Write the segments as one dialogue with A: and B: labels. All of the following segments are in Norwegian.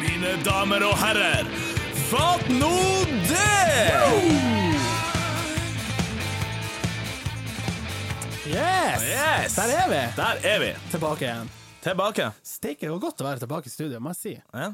A: mine damer og herrer. Fatt nå det!
B: Yes!
A: Yes!
B: Der er vi!
A: Der er vi.
B: Tilbake igjen.
A: Tilbake.
B: Steike, det var godt å være tilbake i studio, må jeg si.
A: Ja.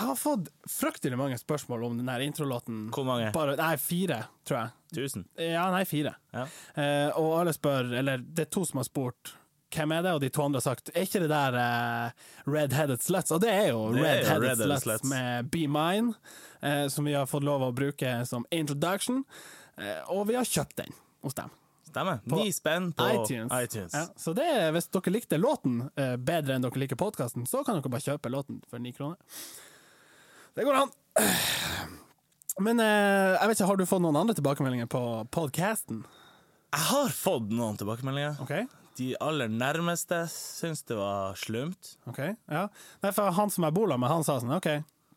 B: Jeg har fått fryktelig mange spørsmål om denne introlåten.
A: Hvor mange?
B: Bare, nei, fire, tror jeg.
A: Tusen.
B: Ja, nei, fire.
A: Ja.
B: Eh, og alle spør, eller det er to som har spurt hvem er det, og de to andre har sagt er ikke det der eh, Red-Headed Sluts? Og det er jo
A: Det er jo
B: Red-Headed
A: Red-Headed
B: Sluts,
A: Sluts.
B: med Be Mine, eh, som vi har fått lov å bruke som introduction, eh, og vi har kjøpt den hos dem.
A: Stemmer. Ni spenn på
B: iTunes. Ja, så det, er- hvis dere likte låten eh, bedre enn dere liker podkasten, så kan dere bare kjøpe låten for ni kroner. Det går an! Men eh, jeg vet ikke, har du fått noen andre tilbakemeldinger på podkasten?
A: Jeg har fått noen tilbakemeldinger.
B: Okay.
A: De aller nærmeste syns det var slumt.
B: Ok, ja. Nei, for han som jeg bor med, han sa sånn OK,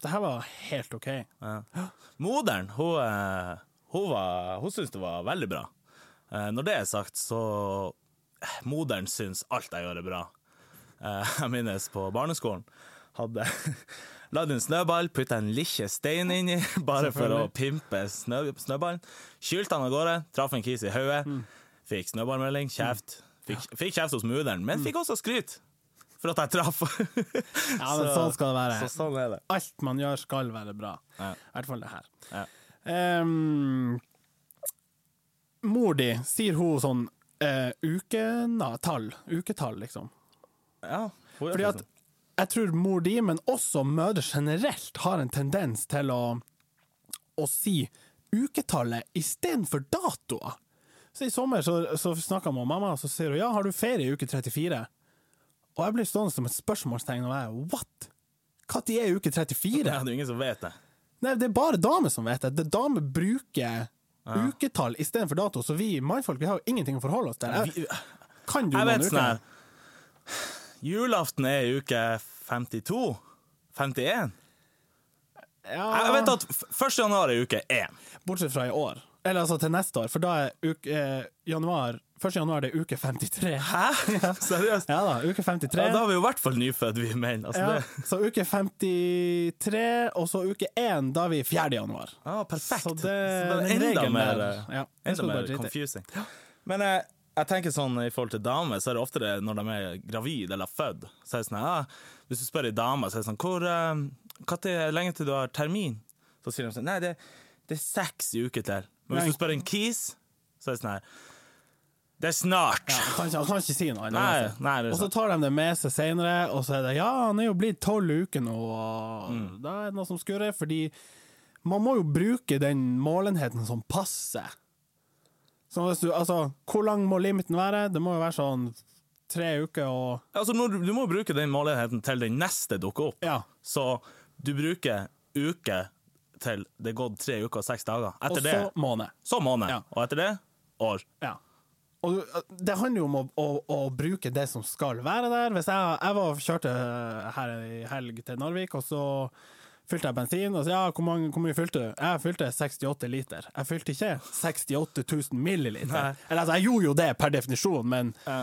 B: det her var helt OK.
A: Ja. Moderen, hun, eh, hun, var- hun syntes det var veldig bra. Eh, Når det er sagt, så eh, Moderen syns alt jeg gjør, er bra. Eh, Jeg minnes på barneskolen. Hadde lagd en snøball, putta en lille stein inni bare for å pimpe snø, snøballen. Kylte han av gårde, traff en kis i hodet.
B: Mm.
A: Fikk snøballmelding, kjeft. Fikk, fikk kjeft hos moderen,
B: Mm.
A: men fikk også skryt for at jeg traff.
B: Ja, men
A: Så-
B: sånn skal
A: Så
B: det være.
A: sånn er det.
B: Alt man gjør, skal være bra.
A: Ja.
B: I hvert fall det her.
A: Ja.
B: Ehm, mor di, sier hun sånn uh, uketall? Uketall, liksom.
A: Ja, hun gjør
B: Fordi at
A: sånn.
B: jeg tror mor di, men også mødre generelt, har en tendens til å, å si uketallet istedenfor datoer. Så I sommer så, så snakka jeg med mamma, og så sier hun ja, har du ferie i uke 34? Og jeg blir stående som et spørsmålstegn, og jeg what? Når er uke 34?
A: Ja, det er ingen som vet det.
B: Nei, det er bare damer som vet det. det er damer bruker uketall istedenfor dato, så vi mannfolk vi har jo ingenting å forholde oss til.
A: Eh,
B: Jeg, kan du
A: Jeg
B: noen
A: vet sånn
B: uker?
A: her Julaften er i uke 52 51 Jeg vet at f- 1. januar er uke 1
B: Bortsett fra i år. Eller altså til neste år, for da er uke, eh, januar 1. januar det er uke 53.
A: Hæ? Seriøst?
B: Ja da, uke
A: Ja,
B: 53.
A: da er vi jo i hvert fall nyfødt vi mener altså,
B: Ja,
A: det-
B: så uke 53, og så uke 1, da er vi 4. januar.
A: Ja, perfekt
B: Så det-
A: er
B: den
A: enda
B: regelen
A: mer, eh,
B: der, ja, den
A: enda
B: skal du
A: mer
B: bare drite i.
A: confusing Men jeg, jeg tenker sånn i forhold til damer Så er det ofte det når de er gravid eller født Så er det sånn, ja Hvis du spør en dame, så er det sånn Hvor, eh, hva til, lenge til du har termin? Så sier de sånn, nei det, det er seks uker til Men
B: Nei.
A: hvis du spør en kis Så er det sånn her Det er snart
B: Ja, han, kan ikke, han kan ikke si noe annet.
A: Nei,
B: altså.
A: nei, det er sånn.
B: og så
A: sant.
B: tar de det med seg senere, og så er det ja, han er jo blitt tolv uker nå, og
A: Mm.
B: da er det noe som skurrer, fordi man må jo bruke den målenheten som passer. Så hvis du, altså, hvor lang må limiten være? Det må jo være sånn tre uker og
A: Altså, når du, du må bruke den målenheten til den neste dukker opp.
B: Ja.
A: Så du bruker uke til det er gått tre uker og seks dager.
B: Og
A: Etter
B: så
A: det
B: måned.
A: så måned,
B: Ja.
A: og etter det år.
B: Ja. Og du- det handler jo om å, å, å bruke det som skal være der. Hvis jeg, jeg var, kjørte eh, her i helg til Narvik, og så fylte jeg bensin. Og så ja, hvor, mange, hvor mye fylte du? Jeg fylte 68 liter. Jeg fylte ikke 68 000 milliliter.
A: Nei.
B: Eller altså, jeg gjorde jo det per definisjon, men
A: Ja.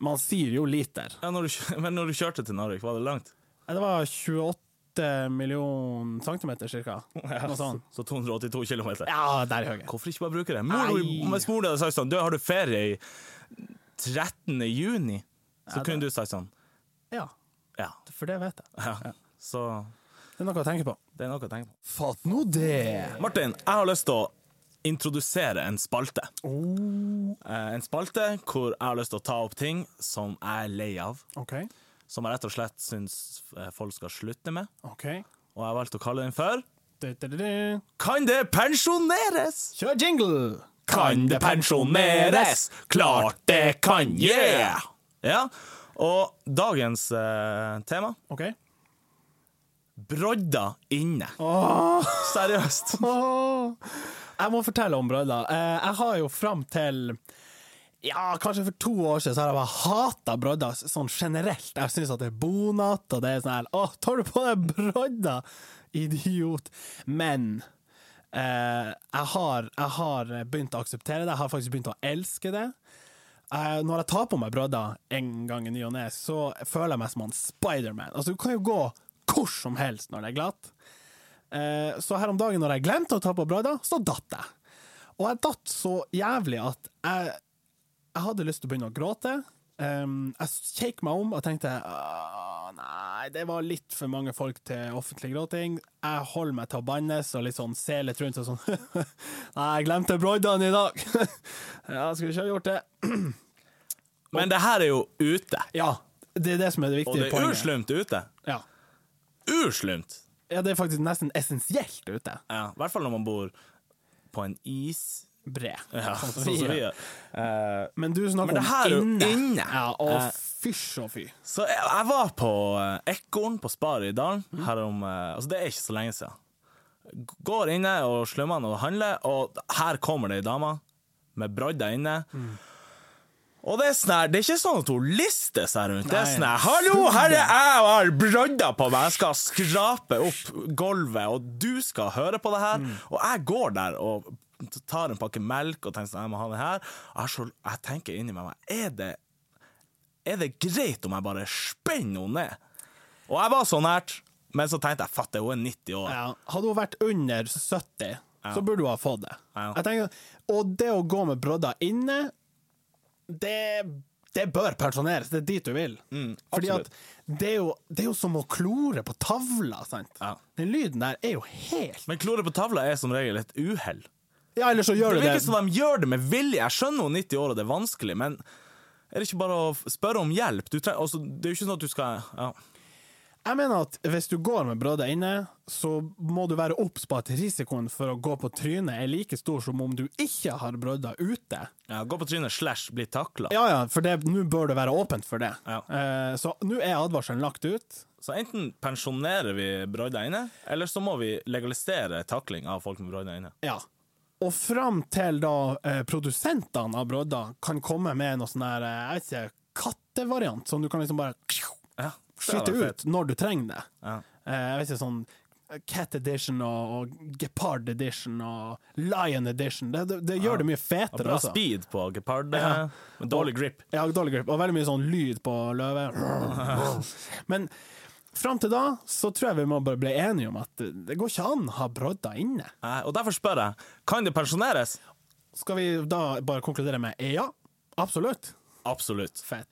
B: man sier jo liter.
A: Ja, når du, kjø- men når du kjørte til Narvik, var det langt?
B: Ja, Det var 28 millioner centimeter, cirka. Noe sånt.
A: Så 282 km.
B: Ja, der i høyre.
A: Hvorfor ikke bare bruke det? Mor,
B: Nei.
A: hvis mor hadde sagt sånn Du, har du ferie i 13. juni? Så
B: Ja, det-
A: kunne du sagt sånn.
B: Ja,
A: Ja.
B: for det vet jeg.
A: ja. Så
B: Det er noe å tenke på.
A: det er noe å tenke på.
B: Fatt nå det!
A: Martin, jeg har lyst til å introdusere en spalte.
B: Oh.
A: Eh, En spalte hvor jeg har lyst til å ta opp ting som jeg er lei av.
B: OK.
A: Som jeg rett og slett syns eh, folk skal slutte med.
B: OK.
A: Og jeg valgte å kalle den for
B: Du-du-du-du.
A: Kan det pensjoneres?
B: Kjør jingle!
A: Klart det kan, yeah! Ja, Og dagens eh, tema
B: OK.
A: brodder inne. Seriøst.
B: Åh, jeg må fortelle om brødda. Eh, Jeg har jo fram til ja, kanskje for to år siden så har jeg bare hata brodder sånn generelt. Jeg syns at det er bonatt, og det er sånn her Å, tar du på deg brodder, idiot? Men eh, jeg, har, jeg har begynt å akseptere det. Jeg har faktisk begynt å elske det. Eh, når jeg tar på meg brodder en gang i ny og ne, så føler jeg meg som han Spiderman. Altså, du kan jo gå hvor som helst når det er glatt. Eh, så her om dagen, når jeg glemte å ta på brødda, så datt jeg. Og jeg datt så jævlig at jeg, jeg hadde lyst til å begynne å gråte. Em, jeg kjekk meg om og tenkte «Åh, nei, det var litt for mange folk til offentlig gråting. Jeg holder meg til å bannes og litt sånn se litt rundt og sånn Nei, jeg glemte broddene i dag! ja, skulle ikke ha gjort det.
A: Men det her er jo ute,
B: Ja, det er det som er det
A: og det
B: viktige
A: er
B: poenget.
A: uslumt ute.
B: Ja.
A: Uslumt!
B: ja, det er faktisk nesten essensielt ute.
A: Ja, I hvert fall når man bor på en is.
B: Bre.
A: Ja,
B: Sånn som
A: sånn som
B: vi
A: vi
B: gjør.
A: gjør. Eh,
B: Men du snakker
A: Men det her er jo
B: om inne.
A: inne.
B: Ja, og
A: Eh.
B: fysj og fy.
A: Så jeg, jeg var på eh, Ekorn på Spar i Dalen. Her om, eh, altså det er ikke så lenge siden. G- Går inne og slummer og handler, og her kommer det ei dame med brodder inne. Og det er, sånn her, det er ikke sånn at hun lister seg rundt. Det er
B: Nei.
A: sånn her, 'Hallo, her er jeg og har brodder på meg.' Jeg skal skrape opp gulvet, og du skal høre på det her. Og jeg går der og tar en pakke melk og tenker sånn, 'Jeg må ha den her'. Jeg, har så, jeg tenker inni meg Er det er det greit om jeg bare spenner henne ned? Og jeg var så nært, men så tenkte jeg fatter, hun er 90 år.
B: Ja. Hadde hun vært under 70, så burde hun ha fått det.
A: Ja.
B: Jeg tenker, og det å gå med brodder inne, det, det bør pensjoneres. Det er dit du vil. Fordi
A: Mm, absolutt.
B: at det er, jo, det er jo som å klore på tavla, sant?
A: Ja.
B: Den lyden der er jo helt
A: Men klore på tavla er som regel et uhell.
B: Ja, eller så
A: Det
B: gjør du det.
A: virker som de gjør det med vilje. Jeg skjønner hun er 90 år og det er vanskelig, men er det ikke bare å f- spørre om hjelp? Du trenger, altså, det er jo ikke sånn at du skal ja.
B: Jeg mener at hvis du går med brodder inne, så må du være obs på at risikoen for å gå på trynet er like stor som om du ikke har brodder ute.
A: Ja, Gå på trynet slash bli takla.
B: Ja ja, for det- nå bør det være åpent for det.
A: Ja.
B: Eh, så nå er advarselen lagt ut.
A: Så enten pensjonerer vi broider inne, eller så må vi legalisere takling av folk med broider inne.
B: Ja. Og fram til da eh, produsentene av brodder kan komme med noe sånn her, eh, jeg vet ikke, kattevariant, som du kan liksom bare
A: Ja, det hadde
B: skyte
A: vært fett.
B: ut når du trenger det.
A: Ja.
B: Eh, jeg vet ikke, sånn Cat Edition og, og Gepard Edition og Lion Edition. Det, det, det gjør det mye
A: Og
B: fetere,
A: Bra
B: altså.
A: speed på gepard,
B: Ja.
A: men dårlig grip.
B: Ja, dårlig grip, og veldig mye sånn lyd på løve. Men fram til da så tror jeg vi må bare bli enige om at det- det går ikke an å ha brodder inne.
A: Nei, Og derfor spør jeg, kan det pensjoneres?
B: Skal vi da bare konkludere med ja? Absolutt.
A: Absolutt.
B: Fett.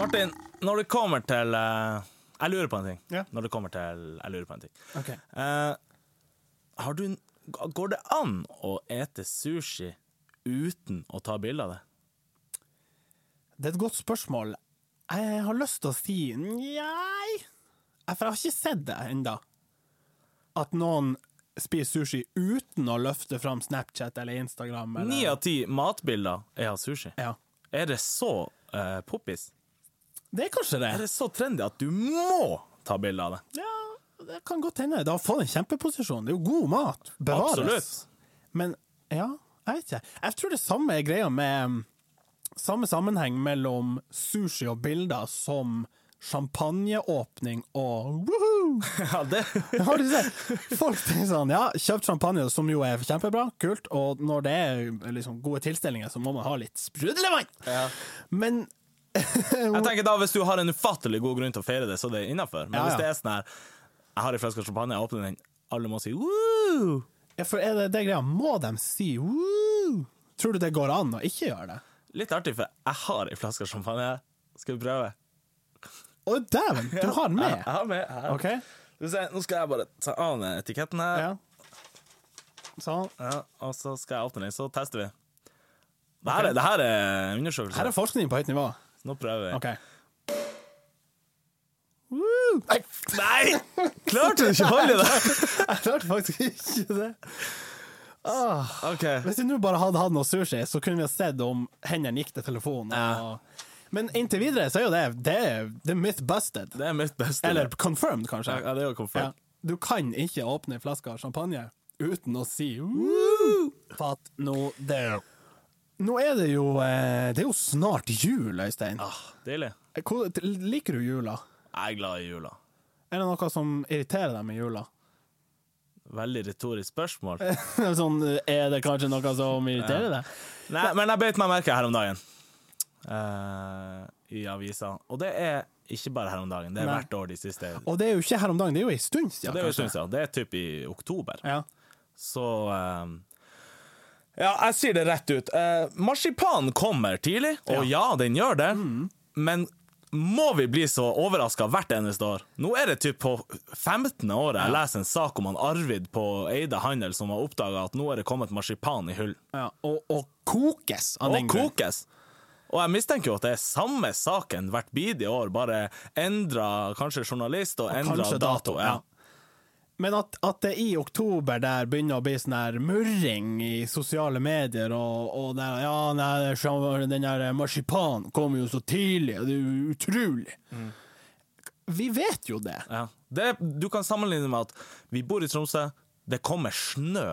A: Martin, når det kommer til eh, Jeg lurer på en ting.
B: Ja.
A: Når det kommer til Jeg lurer på en ting.
B: Ok.
A: Eh, har du en- Går det an å ete sushi uten å ta bilde av det?
B: Det er et godt spørsmål. Jeg har lyst til å si nei, for jeg har ikke sett det enda. At noen spiser sushi uten å løfte fram Snapchat eller Instagram. Eller,
A: Ni av ti matbilder er av sushi.
B: Ja.
A: Er det så eh, poppis?
B: Det er kanskje det.
A: Er det så trendy at du må ta bilde av det?
B: Ja, det kan godt hende. Det har fått en kjempeposisjon. Det er jo god mat. Bevares.
A: Absolutt.
B: Men ja, jeg vet ikke. Jeg tror det samme er greia med Samme sammenheng mellom sushi og bilder som champagneåpning og woohoo!
A: Ja, det
B: Har du sett? Folk tenker sånn, ja, kjøpt champagne, som jo er kjempebra, kult, og når det er liksom gode tilstelninger, så må man ha litt sprudlevann. Men
A: Jeg tenker da Hvis du har en ufattelig god grunn til å feire det, så er det innafor. Men
B: Ja, ja.
A: hvis det er sånn her Jeg har en flaske champagne, jeg åpner den, alle må si woo!
B: ja, for er det det greia? Må de si woo? Tror du det går an å ikke gjøre det?
A: Litt artig, for jeg har en flaske champagne. Skal vi prøve?
B: Å, dæven, du har den
A: Jeg
B: med!
A: har med her.
B: OK?
A: Skal vi se, Nå skal jeg bare ta av den etiketten her,
B: Ja. Sånn.
A: ja, og så skal jeg åpne den, så tester vi. Det her er, det her er undersøkelse.
B: Her er forskning på høyt nivå.
A: Nå prøver vi.
B: OK. Woo! Nei,
A: Nei! Klarte du ikke å holde det?
B: jeg klarte faktisk ikke det.
A: OK.
B: Hvis vi nå bare hadde hatt noe sushi, så kunne vi ha sett om hendene gikk til telefonen. Og... Men inntil videre så er jo det Det er, det er myth busted.
A: Det er mitt beste.
B: Eller confirmed, kanskje.
A: Ja, det er jo
B: Ja.
A: komfort.
B: Du kan ikke åpne en flaske champagne uten å si «Woo!» Fatt nå det. Nå er det jo eh, Det er jo snart jul, Øystein.
A: Ah, deilig.
B: Hvor- Liker du jula?
A: Jeg er glad i jula.
B: Er det noe som irriterer deg med jula?
A: Veldig retorisk spørmål.
B: sånn, er det kanskje noe som irriterer deg?
A: Nei, men jeg beit meg merke her om dagen eh, i avisa, og det er Ikke bare her om dagen, det er
B: Nei.
A: hvert år de siste
B: Og det er jo ikke her om dagen, det er jo ei stund siden.
A: Det er jo en
B: kanskje.
A: stund siden. Det er typ i oktober.
B: Ja.
A: Så eh, Ja, jeg sier det rett ut. Eh, marsipan kommer tidlig, og ja, Mm. den gjør det. Men må vi bli så overraska hvert eneste år? Nå er det typ på 15. året jeg leser en sak om han Arvid på Eide Handel som har oppdaga at nå er det kommet marsipan i hull.
B: Ja. Og, og kokes av
A: Og
B: den grunn.
A: kokes. Og jeg mistenker jo at det er samme saken hvert bidige år, bare endra kanskje journalist og endra
B: kanskje
A: dato.
B: dato,
A: ja.
B: ja. Men at, at det i oktober der begynner å bli sånn her murring i sosiale medier, og, og der, ja, nei, det er sånn- den der marsipanen kommer jo så tidlig, og det er jo utrolig. Vi vet jo det.
A: Ja. Det, du kan sammenligne med at vi bor i Tromsø, det kommer snø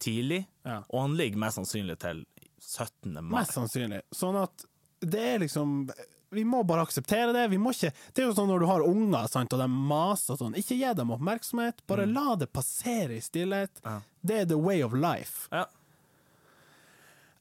A: tidlig,
B: Ja.
A: og han ligger mest sannsynlig til 17. mai.
B: Mest sannsynlig. Sånn at det er liksom Vi må bare akseptere det. Vi må ikke Det er jo sånn når du har unger sant, og de maser og sånn, ikke gi dem oppmerksomhet. Bare la det passere i stillhet. Det er the way of life.
A: Ja.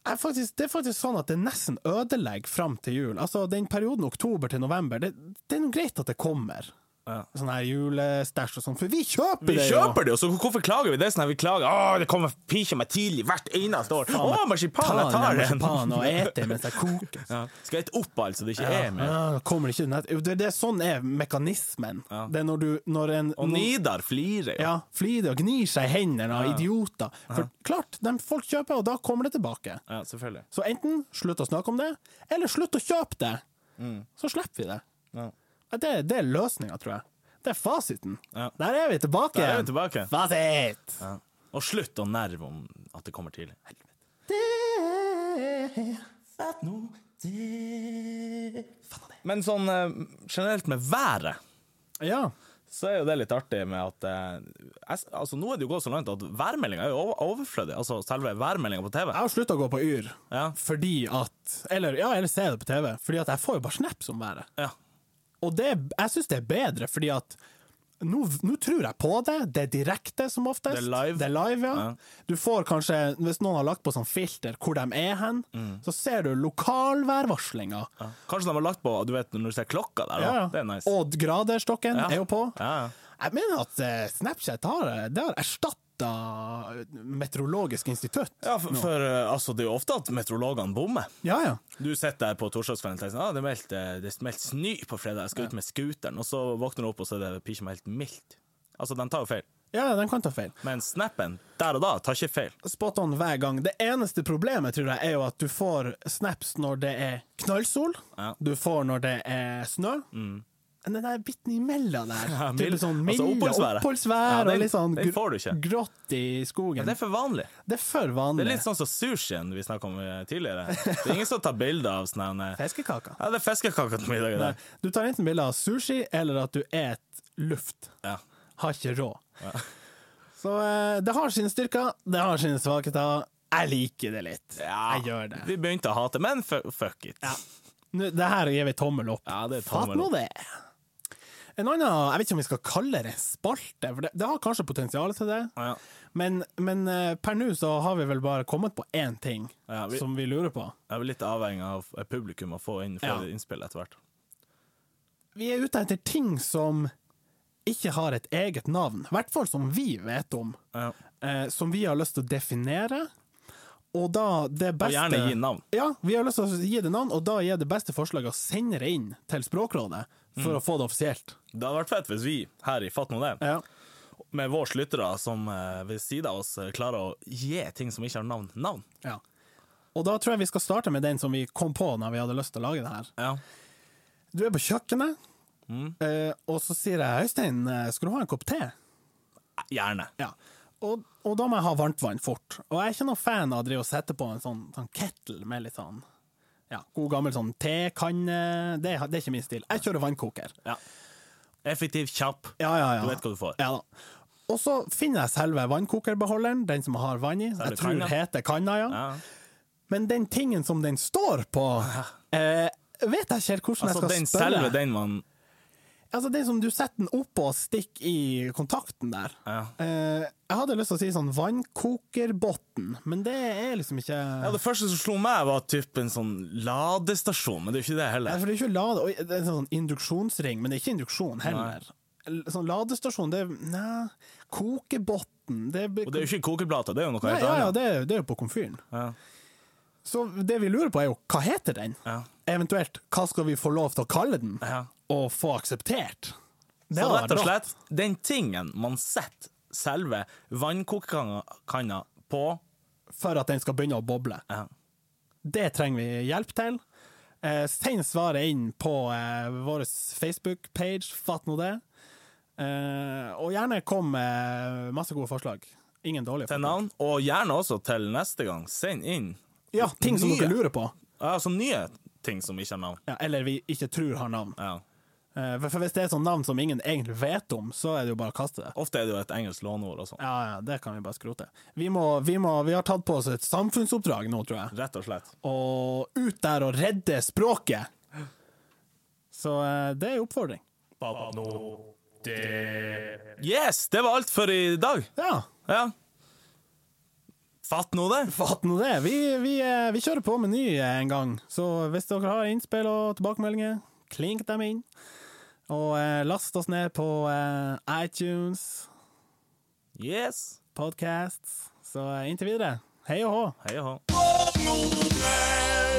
B: Jeg faktisk, det er faktisk sånn at det nesten ødelegger fram til jul. Altså den perioden oktober til november, det, det er nå greit at det kommer.
A: Ja.
B: Sånn her julestæsj og sånn, for vi kjøper
A: Vi
B: det jo!
A: kjøper det jo, så hvorfor klager vi det? Sånn at vi klager Åh, det kommer pikkje meg tidlig hvert eneste år. Å, marsipan! Jeg tar den!
B: marsipan og eter mens jeg koker.
A: Ja. Skal jeg ete opp alt så det ikke er mer?
B: Ja, kommer ikke nett. Jo, Det, det er sånn er mekanismen. Det er når du når en
A: Og
B: når-
A: Nidar flirer jo.
B: ja, flirer og gnir seg i hendene av idioter. For klart, de folk kjøper, og da kommer det tilbake.
A: Ja, selvfølgelig.
B: Så enten slutt å snakke om det, eller slutt å kjøpe det. Så slipper vi det.
A: Mm. Ja.
B: Det, det er løsninga, tror jeg. Det er fasiten.
A: Ja.
B: Der er vi tilbake.
A: Der er vi tilbake.
B: Fasit!
A: Ja. Og slutt å nerve om at det kommer tidlig.
B: Det
A: Fatt nå det Men sånn eh, generelt med været
B: Ja.
A: så er jo det litt artig med at eh, jeg, altså Nå er det jo gått så langt at værmeldinga er jo over- overflødig. Altså selve værmeldinga på TV.
B: Jeg har slutta å gå på Yr
A: Ja.
B: fordi at Eller ja, eller se det på TV, fordi at jeg får jo bare snaps om været.
A: Ja.
B: Og det, jeg syns det er bedre, fordi at nå, nå tror jeg på det. Det er direkte, som oftest.
A: Det er live.
B: ja.
A: Ja.
B: Du får kanskje, hvis noen har lagt på sånn filter hvor de er hen,
A: Mm.
B: så ser du lokalværvarslinga.
A: Ja. Kanskje de har lagt på du vet, når du ser klokka der, da. Det er nice.
B: Og graderstokken
A: Ja.
B: er jo på.
A: Ja, ja.
B: Jeg mener at eh, Snapchat har, det har erstatta Meteorologisk institutt.
A: ja, for, for eh, altså, det er jo ofte at meteorologene bommer.
B: Ja, ja.
A: Du sitter der på torsdagskvelden og tenker sånn, ah, det er meldt, eh, det er meldt snø på fredag, jeg skal ut med scooteren, og så våkner du opp, og så er det pikkje meg helt mildt. Altså, de tar jo feil.
B: Ja, den kan ta feil.
A: Men snappen der og da tar ikke feil.
B: Spot on hver gang. Det eneste problemet tror jeg er jo at du får snaps når det er knallsol,
A: Ja. Mm.
B: du får når det er snø. Men den der biten imellom der,
A: Ja,
B: type
A: mild-
B: sånn mild
A: altså oppholdsværet. Ja,
B: oppholdsvær
A: den-
B: og litt sånn
A: den får du
B: gr
A: ikke.
B: grått i skogen.
A: Det er
B: Det,
A: for vanlig.
B: er for
A: Det
B: vanlig.
A: er litt sånn som sushien vi snakka om eh, tidligere. Det er ingen som tar bilde av sånn eh,
B: Fiskekaker.
A: Ja, det er fiskekaker til middag i dag.
B: Du tar enten bilde av sushi, eller at du et luft.
A: Ja.
B: Har ikke råd. Så eh, det har sine styrker, det har sine svakheter. Jeg liker det litt. Jeg gjør det.
A: Ah, Vi begynte å hate, men fu- fuck it. Ja.
B: Nå, det her gir vi tommel opp.
A: Ja, det er
B: Fatt
A: tommel
B: nå
A: opp.
B: det. En annen, jeg vet ikke om vi skal kalle det en spalte, for det, det har kanskje potensial til det.
A: Ja.
B: Men, men eh, per nå så har vi vel bare kommet på én ting
A: Ja, vi-
B: som vi lurer på.
A: Jeg er litt avhengig av publikum å få inn flere
B: Ja.
A: innspill etter hvert.
B: Vi er ute etter ting som ikke har et eget navn, i hvert fall som vi vet om,
A: Ja.
B: eh, som vi har lyst til å definere. Og da det
A: Og
B: beste
A: gjerne gi navn.
B: Ja, vi har lyst til å gi det navn, og da gir det beste forslaget å sende det inn til Språkrådet for
A: Mm.
B: å få det offisielt.
A: Det hadde vært fett hvis vi her i Fatt nå det,
B: Ja.
A: med våre lyttere som eh, ved siden av oss eh, klarer å gi ting som ikke har navn, navn.
B: Ja. Og da tror jeg vi skal starte med den som vi kom på når vi hadde lyst til å lage det her.
A: Ja.
B: Du er på kjøkkenet,
A: Mm.
B: eh, og så sier jeg 'Øystein, eh, skal du ha en kopp te?'
A: Gjerne.
B: Ja. Og, og da må jeg ha varmt vann fort. Og jeg er ikke noen fan av å drive og sette på en sånn, sånn kettle med litt sånn ja, god gammel sånn tekanne. Det, det er ikke min stil. Jeg kjører vannkoker.
A: Ja. Effektiv, kjapp.
B: Ja, ja, ja.
A: Du vet hva du får.
B: Ja da. Og så finner jeg selve vannkokerbeholderen, den som har vann i.
A: er
B: Jeg
A: det
B: tror
A: kanna.
B: heter kanna, ja.
A: Ja.
B: Men den tingen som den står på, eh, vet jeg ikke helt hvordan
A: Altså,
B: jeg skal
A: den
B: spørre.
A: selve, den man
B: Altså, det er som du setter den oppå og stikker i kontakten der.
A: Ja.
B: Eh, jeg hadde lyst til å si sånn vannkokerbotn, men det er liksom ikke
A: Ja, det første som slo meg, var typ en sånn ladestasjon, men det er jo ikke det
B: Nei,
A: heller.
B: for det er ikke lade, oi, det er en sånn induksjonsring, men det er ikke induksjon heller. L- Sånn ladestasjon, det er Nei, kokebotn det
A: Og det er jo ikke kokeplata, det er jo noe
B: Nei,
A: helt
B: ja, ja,
A: annet.
B: det, er- det er jo på komfyren.
A: Ja.
B: Så det vi lurer på, er jo hva heter den?
A: Ja.
B: Eventuelt hva skal vi få lov til å kalle den,
A: Ja.
B: og få akseptert? Det
A: Så
B: hadde
A: rett og
B: vært bra.
A: slett, den tingen man setter selve vannkokekanna på eh,
B: For at den skal begynne å boble.
A: ja.
B: Det trenger vi hjelp til. Eh, send svaret inn på eh, vår Facebook-page, fatt nå det. Eh, og gjerne kom med masse gode forslag. Ingen dårlige.
A: til
B: forslag.
A: navn, og gjerne også til neste gang. Send inn
B: Ja, ting som
A: Nye.
B: dere lurer på,
A: altså nye ting som ikke har navn.
B: ja, eller vi ikke tror har navn.
A: Ja.
B: Eh, for- for hvis det er sånn navn som ingen egentlig vet om, så er det jo bare å kaste det.
A: Ofte er det jo et engelsk låneord og sånn.
B: Ja, ja, det kan vi bare skrote. Vi, må, vi, må, vi har tatt på oss et samfunnsoppdrag nå, tror jeg.
A: Rett og slett.
B: Og ut der og redde språket! Så eh, det er en oppfordring.
A: Yes, det var alt for i dag.
B: Ja.
A: Ja. Fatt nå det.
B: Fatt nå det. Vi, vi, eh, vi kjører på med ny eh, en gang, så hvis dere har innspill og tilbakemeldinger, klink dem inn. Og eh, last oss ned på eh, iTunes,
A: Yes.
B: podcasts. Så eh, inntil videre, hei og hå!
A: Hei og hå.
C: Fatt nå det!